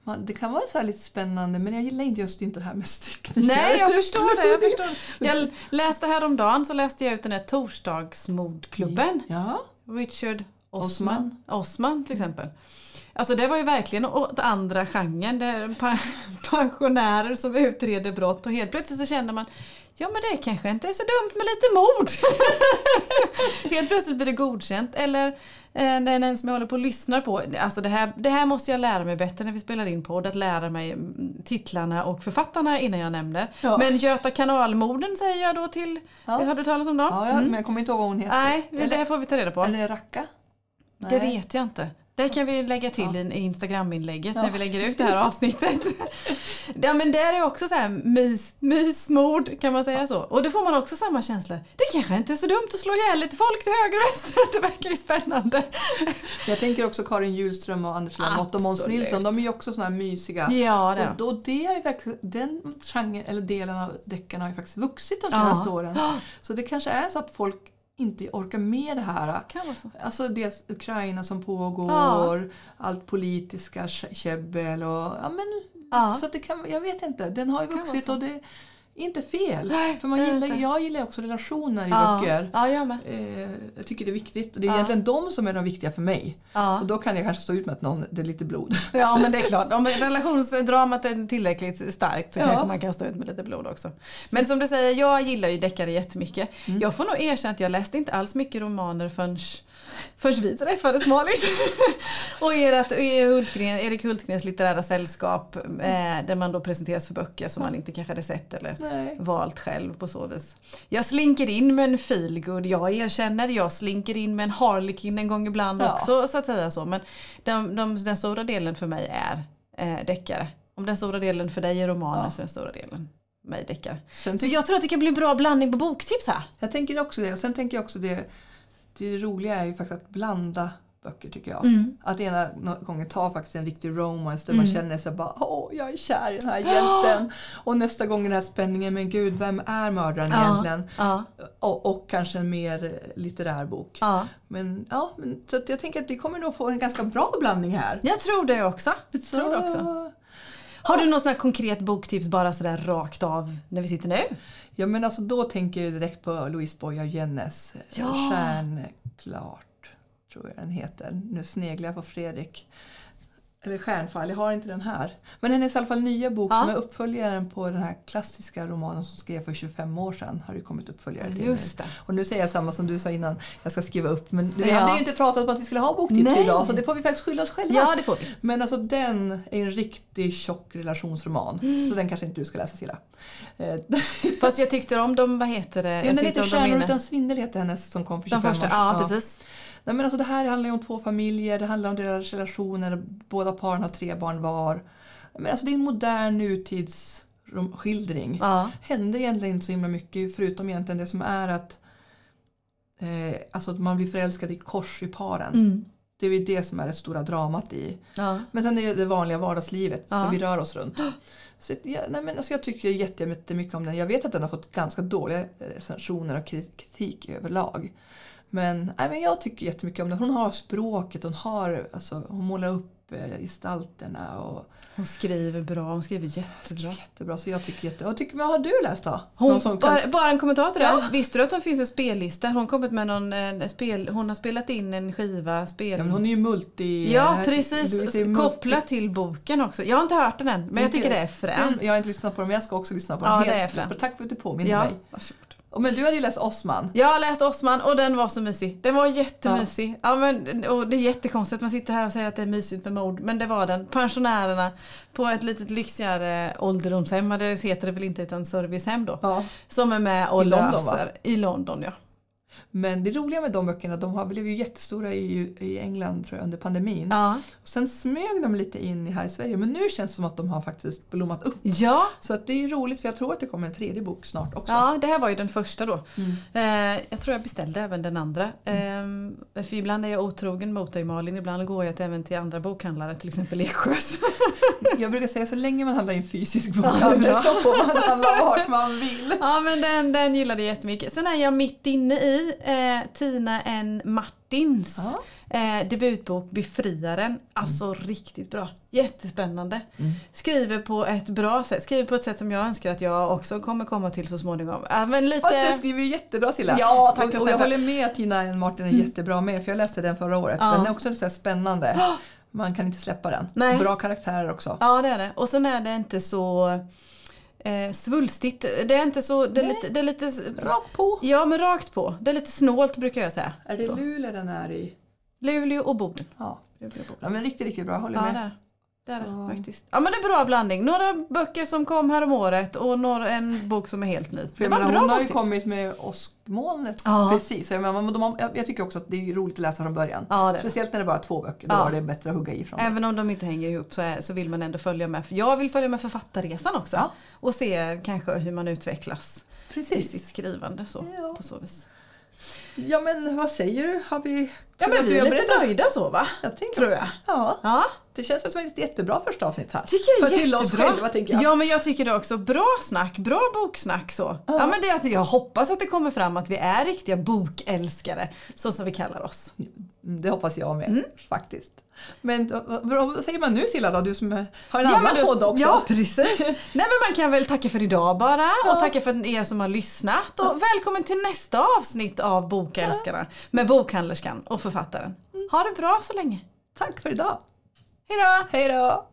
[SPEAKER 2] Man, det kan vara så här lite spännande men jag gillar inte just inte det här med styckningar.
[SPEAKER 1] Nej, jag förstår det. Jag, förstår.
[SPEAKER 2] *laughs*
[SPEAKER 1] jag läste häromdagen så läste jag ut den här torsdagsmordklubben.
[SPEAKER 2] Ja.
[SPEAKER 1] Richard Osman.
[SPEAKER 2] Osman.
[SPEAKER 1] Osman till exempel. Alltså det var ju verkligen åt andra genren. Det är pa- *laughs* pensionärer som utreder brott och helt plötsligt så känner man Ja men det kanske inte är så dumt med lite mord. *laughs* Helt plötsligt blir det godkänt. Eller eh, den en som jag håller på och lyssnar på. Alltså det här, det här måste jag lära mig bättre när vi spelar in podd. Att lära mig mm, titlarna och författarna innan jag nämner.
[SPEAKER 2] Ja.
[SPEAKER 1] Men Göta kanalmorden säger jag då till.
[SPEAKER 2] Ja.
[SPEAKER 1] Har du talat om dem? Mm.
[SPEAKER 2] Ja, jag, men jag kommer inte ihåg vad hon heter.
[SPEAKER 1] Nej, det här får vi ta reda på.
[SPEAKER 2] Är det Racka?
[SPEAKER 1] Det vet jag inte. Det kan vi lägga till i i Instagram-inlägget när vi lägger ut det *laughs* här avsnittet. ja men där är också så här mys, mysmord kan man säga så. Och då får man också samma känsla. Det kanske inte är så dumt att slå ihjäl lite folk till höger och vänster. *laughs* Det verkar ju spännande.
[SPEAKER 2] Jag tänker också Karin Hjulström och Anders Lamotte och Måns
[SPEAKER 1] Absolut.
[SPEAKER 2] Nilsson. De är ju också såna här mysiga.
[SPEAKER 1] Ja det är
[SPEAKER 2] Och, och det har ju verkligen, den genren, eller delen av deckarna har ju faktiskt vuxit de
[SPEAKER 1] Ja.
[SPEAKER 2] senaste åren. Så det kanske är så att folk inte orkar med det här.
[SPEAKER 1] det kan vara så.
[SPEAKER 2] Alltså dels Ukraina som pågår, allt politiska kä- käbbel och ja men
[SPEAKER 1] Ja.
[SPEAKER 2] så att det kan, jag vet inte, den har ju
[SPEAKER 1] vara
[SPEAKER 2] vuxit
[SPEAKER 1] så.
[SPEAKER 2] och det är inte fel.
[SPEAKER 1] Nej,
[SPEAKER 2] För man
[SPEAKER 1] det är
[SPEAKER 2] gillar,
[SPEAKER 1] inte.
[SPEAKER 2] jag gillar också relationer i
[SPEAKER 1] Ja,
[SPEAKER 2] böcker.
[SPEAKER 1] ja jag med.
[SPEAKER 2] Eh, jag tycker det är viktigt och det är egentligen de som är de viktiga för mig.
[SPEAKER 1] Ja.
[SPEAKER 2] Och då kan jag kanske stå ut med att någon, det är lite blod.
[SPEAKER 1] *laughs* Ja men det är klart, om relationsdramat är tillräckligt starkt så
[SPEAKER 2] Ja.
[SPEAKER 1] kanske man kan stå ut med lite blod också. Men som du säger, jag gillar ju deckare jättemycket. Jag får nog erkänna att jag läste inte alls mycket romaner förrän, förrän vi träffades Malin. *laughs* och ert, er Hultgren, Erik Hultgrens litterära sällskap eh, där man då presenteras för böcker som man inte kanske hade sett eller
[SPEAKER 2] Nej.
[SPEAKER 1] valt själv på så vis. Jag slinker in med en feelgood, jag erkänner. Jag slinker in med en harlekin en gång ibland
[SPEAKER 2] Ja.
[SPEAKER 1] också så att säga så. Men de, de, den stora delen för mig är eh, deckare. Om den stora delen för dig är romaner
[SPEAKER 2] Ja.
[SPEAKER 1] så är den stora delen för mig deckare.
[SPEAKER 2] Sen,
[SPEAKER 1] Så jag tror att det kan bli en bra blandning på boktips här.
[SPEAKER 2] jag tänker också det och sen tänker jag också det, det roliga är ju faktiskt att blanda böcker tycker jag.
[SPEAKER 1] Mm.
[SPEAKER 2] Att ena gången ta faktiskt en riktig romance där man känner sig bara åh jag är kär i den
[SPEAKER 1] *gasps*
[SPEAKER 2] här hjälten. Och nästa gång den här spänningen, men gud vem är mördaren
[SPEAKER 1] Ja,
[SPEAKER 2] egentligen?
[SPEAKER 1] ja.
[SPEAKER 2] Och, och kanske en mer litterär bok.
[SPEAKER 1] Ja.
[SPEAKER 2] Men, ja, men, så att jag tänker att vi kommer nog få en ganska bra blandning här.
[SPEAKER 1] Jag tror det också. Jag tror det också.
[SPEAKER 2] Så-
[SPEAKER 1] Har du något sån här konkret boktips bara sådär rakt av när vi sitter nu?
[SPEAKER 2] Ja men alltså då tänker jag direkt på Louise Boye och Jennes eh,
[SPEAKER 1] Ja.
[SPEAKER 2] Stjärnklart tror jag den heter. Nu sneglar jag på Fredrik. Eller Stjärnfall, jag har inte den här. Men hennes i alla fall nya bok
[SPEAKER 1] Ja.
[SPEAKER 2] som är uppföljaren på den här klassiska romanen som skrev för 25 år sedan. Har det kommit uppföljare till
[SPEAKER 1] Just
[SPEAKER 2] nu.
[SPEAKER 1] det.
[SPEAKER 2] Och nu säger jag samma som du sa innan, jag ska skriva upp. Men vi
[SPEAKER 1] Ja.
[SPEAKER 2] hade ju inte pratat om att vi skulle ha boktips
[SPEAKER 1] Nej.
[SPEAKER 2] idag så det får vi faktiskt skylla oss själva.
[SPEAKER 1] Ja, det får vi.
[SPEAKER 2] Men alltså den är en riktig tjock relationsroman. Så den kanske inte du ska läsa Cilla. Eh, *laughs*
[SPEAKER 1] Fast jag tyckte om dem, vad heter det?
[SPEAKER 2] Ja,
[SPEAKER 1] jag
[SPEAKER 2] den
[SPEAKER 1] tyckte om
[SPEAKER 2] heter
[SPEAKER 1] dem
[SPEAKER 2] Stjärnor
[SPEAKER 1] innan.
[SPEAKER 2] utan svindel heter hennes som kom för
[SPEAKER 1] De
[SPEAKER 2] 25
[SPEAKER 1] första,
[SPEAKER 2] år sedan.
[SPEAKER 1] ja precis.
[SPEAKER 2] Nej, men alltså, det här handlar ju om två familjer, det handlar om deras relationer, båda paren har tre barn var. Men alltså, det är en modern nutidsskildring.
[SPEAKER 1] Ja.
[SPEAKER 2] händer egentligen inte så himla mycket förutom egentligen det som är att eh, alltså, att man blir förälskad i kors i paren.
[SPEAKER 1] Mm.
[SPEAKER 2] Det är ju det som är det stora dramat i.
[SPEAKER 1] Ja.
[SPEAKER 2] Men sen är det det vanliga vardagslivet
[SPEAKER 1] Ja.
[SPEAKER 2] som vi rör
[SPEAKER 1] *gasps*
[SPEAKER 2] oss runt. Så, ja, nej, men alltså, jag tycker jättemycket om den. Jag vet att den har fått ganska dåliga eh, recensioner och kri- kritik överlag. Men, nej, men jag tycker jättemycket om den. Hon har språket, hon, har, alltså, hon målar upp eh, gestalterna. Och,
[SPEAKER 1] Hon skriver bra, hon skriver jättebra.
[SPEAKER 2] jättebra. Så jag tycker jätte... Jag tycker, men vad har du läst då?
[SPEAKER 1] Hon,
[SPEAKER 2] Någon som kan-
[SPEAKER 1] bara, bara en kommentar till det. här. Visste du att hon finns en spellista? Hon, har kommit med någon, eh, spel, hon har spelat in en skiva, spel...
[SPEAKER 2] Ja, men hon är ju multi...
[SPEAKER 1] Ja,
[SPEAKER 2] här- Louise
[SPEAKER 1] precis.
[SPEAKER 2] är ju multi-
[SPEAKER 1] Kopplat till boken också. Jag har inte hört den än, men jag
[SPEAKER 2] Inte-
[SPEAKER 1] tycker det är fränt.
[SPEAKER 2] Den- Jag har inte lyssnat på den, men jag ska också lyssna på den.
[SPEAKER 1] Ja, det är fränt.
[SPEAKER 2] Tack för att du påminner
[SPEAKER 1] Ja,
[SPEAKER 2] mig.
[SPEAKER 1] varsågod.
[SPEAKER 2] Och, Men du hade ju läst Osman.
[SPEAKER 1] Jag har läst Osman och den var så mysig. Den var jättemysig. Ja. men, och det är jättekonstigt att man sitter här och säger att det är mysigt med mord. Men det var den. Pensionärerna på ett lite lyxigare ålderdomshem. Det heter det väl inte utan servicehem då.
[SPEAKER 2] Ja.
[SPEAKER 1] Som är med och
[SPEAKER 2] I London, va?
[SPEAKER 1] löser. I London ja.
[SPEAKER 2] Men det roliga med de böckerna, de har blev ju jättestora i, i England tror jag, under pandemin.
[SPEAKER 1] Ja.
[SPEAKER 2] Och sen smög de lite in i- här i Sverige, men nu känns det som att de har faktiskt blommat upp.
[SPEAKER 1] Ja.
[SPEAKER 2] Så att det är roligt för jag tror att det kommer en tredje bok snart också.
[SPEAKER 1] Ja, det här var ju den första då. Eh, jag tror jag beställde även den andra. Eh, för ibland är jag otrogen mot dig Malin, ibland går jag till, även till andra bokhandlare, till exempel Eksjös.
[SPEAKER 2] Jag brukar säga så länge man handlar i en fysisk
[SPEAKER 1] Ja, det är
[SPEAKER 2] bokhandel
[SPEAKER 1] bra.
[SPEAKER 2] så får man handla vart man vill.
[SPEAKER 1] Ja men den, den gillade jag jättemycket. Sen är jag mitt inne i eh, Tina N Martins
[SPEAKER 2] Ja. Mm.
[SPEAKER 1] eh, debutbok Befriaren. Alltså riktigt bra. Jättespännande. Skriver på ett bra sätt. Skriver på ett sätt som jag önskar att jag också kommer komma till så småningom. Ja, men lite...
[SPEAKER 2] Fast jag skriver ju jättebra Cilla.
[SPEAKER 1] Ja, tack,
[SPEAKER 2] och, och jag
[SPEAKER 1] snälla. Mm.
[SPEAKER 2] håller med att Tina N. Martin är jättebra med för jag läste den förra året.
[SPEAKER 1] Ja.
[SPEAKER 2] Den är också så här spännande. Man kan inte släppa den.
[SPEAKER 1] Nej.
[SPEAKER 2] Bra karaktärer också.
[SPEAKER 1] Ja det är det. Och sen är det inte så eh, svulstigt. Det är inte så... Det är
[SPEAKER 2] Nej.
[SPEAKER 1] lite... Det är lite
[SPEAKER 2] Rakt på.
[SPEAKER 1] ja men rakt på. Det är lite snålt brukar jag säga.
[SPEAKER 2] Är det
[SPEAKER 1] Så.
[SPEAKER 2] Luleå den är i?
[SPEAKER 1] Luleå och Boden.
[SPEAKER 2] Ja.
[SPEAKER 1] Luleå och Boden.
[SPEAKER 2] ja men riktigt, riktigt bra. Jag håller
[SPEAKER 1] Ja, det
[SPEAKER 2] med.
[SPEAKER 1] är det. är det
[SPEAKER 2] Så-
[SPEAKER 1] faktiskt. Ja men det är bra blandning. Några böcker som kom här om året och några, en bok som är helt ny.
[SPEAKER 2] För
[SPEAKER 1] det
[SPEAKER 2] jag
[SPEAKER 1] var
[SPEAKER 2] menar, hon har ju
[SPEAKER 1] boktips.
[SPEAKER 2] kommit med åskmolnet
[SPEAKER 1] Ja.
[SPEAKER 2] precis. Så jag, menar, de har, jag jag tycker också att det är roligt att läsa från början.
[SPEAKER 1] Ja, det är det.
[SPEAKER 2] Speciellt när det bara är två böcker. Då
[SPEAKER 1] Ja.
[SPEAKER 2] är det bättre att hugga ifrån.
[SPEAKER 1] Även om de inte hänger ihop så, är, så vill man ändå följa med. För Jag vill följa med författarresan också.
[SPEAKER 2] Ja.
[SPEAKER 1] Och se kanske hur man utvecklas i sitt
[SPEAKER 2] Precis.
[SPEAKER 1] skrivande. Så,
[SPEAKER 2] Ja.
[SPEAKER 1] på så vis.
[SPEAKER 2] Ja men vad säger du? Har vi...
[SPEAKER 1] Ja men
[SPEAKER 2] att
[SPEAKER 1] vi är
[SPEAKER 2] har
[SPEAKER 1] lite
[SPEAKER 2] berättat?
[SPEAKER 1] nöjda så va?
[SPEAKER 2] Jag tänkte
[SPEAKER 1] tror
[SPEAKER 2] också.
[SPEAKER 1] jag.
[SPEAKER 2] Ja.
[SPEAKER 1] Ja.
[SPEAKER 2] Det känns väl som ett jättebra första avsnitt här.
[SPEAKER 1] Tycker jag
[SPEAKER 2] För
[SPEAKER 1] är
[SPEAKER 2] att hylla oss
[SPEAKER 1] jättebra.
[SPEAKER 2] själva tänker jag.
[SPEAKER 1] Ja men jag tycker det också. Bra snack, bra boksnack så. Ja. men det är att jag hoppas att det kommer fram att vi är riktiga bokälskare. Så som vi kallar oss.
[SPEAKER 2] Mm, Det hoppas jag med faktiskt. Men vad- vad vad säger man nu Cilla då? Du som är- har en
[SPEAKER 1] Ja,
[SPEAKER 2] annan
[SPEAKER 1] men då-
[SPEAKER 2] podd också.
[SPEAKER 1] Ja,
[SPEAKER 2] *laughs*
[SPEAKER 1] precis. Nej, men man kan väl tacka för idag bara och tacka för er som har lyssnat. Och välkommen till nästa avsnitt av Bokälskarna med
[SPEAKER 2] Mm.
[SPEAKER 1] bokhandlerskan och författaren. Ha det bra så länge.
[SPEAKER 2] Tack för idag.
[SPEAKER 1] Hej då!
[SPEAKER 2] Hej då!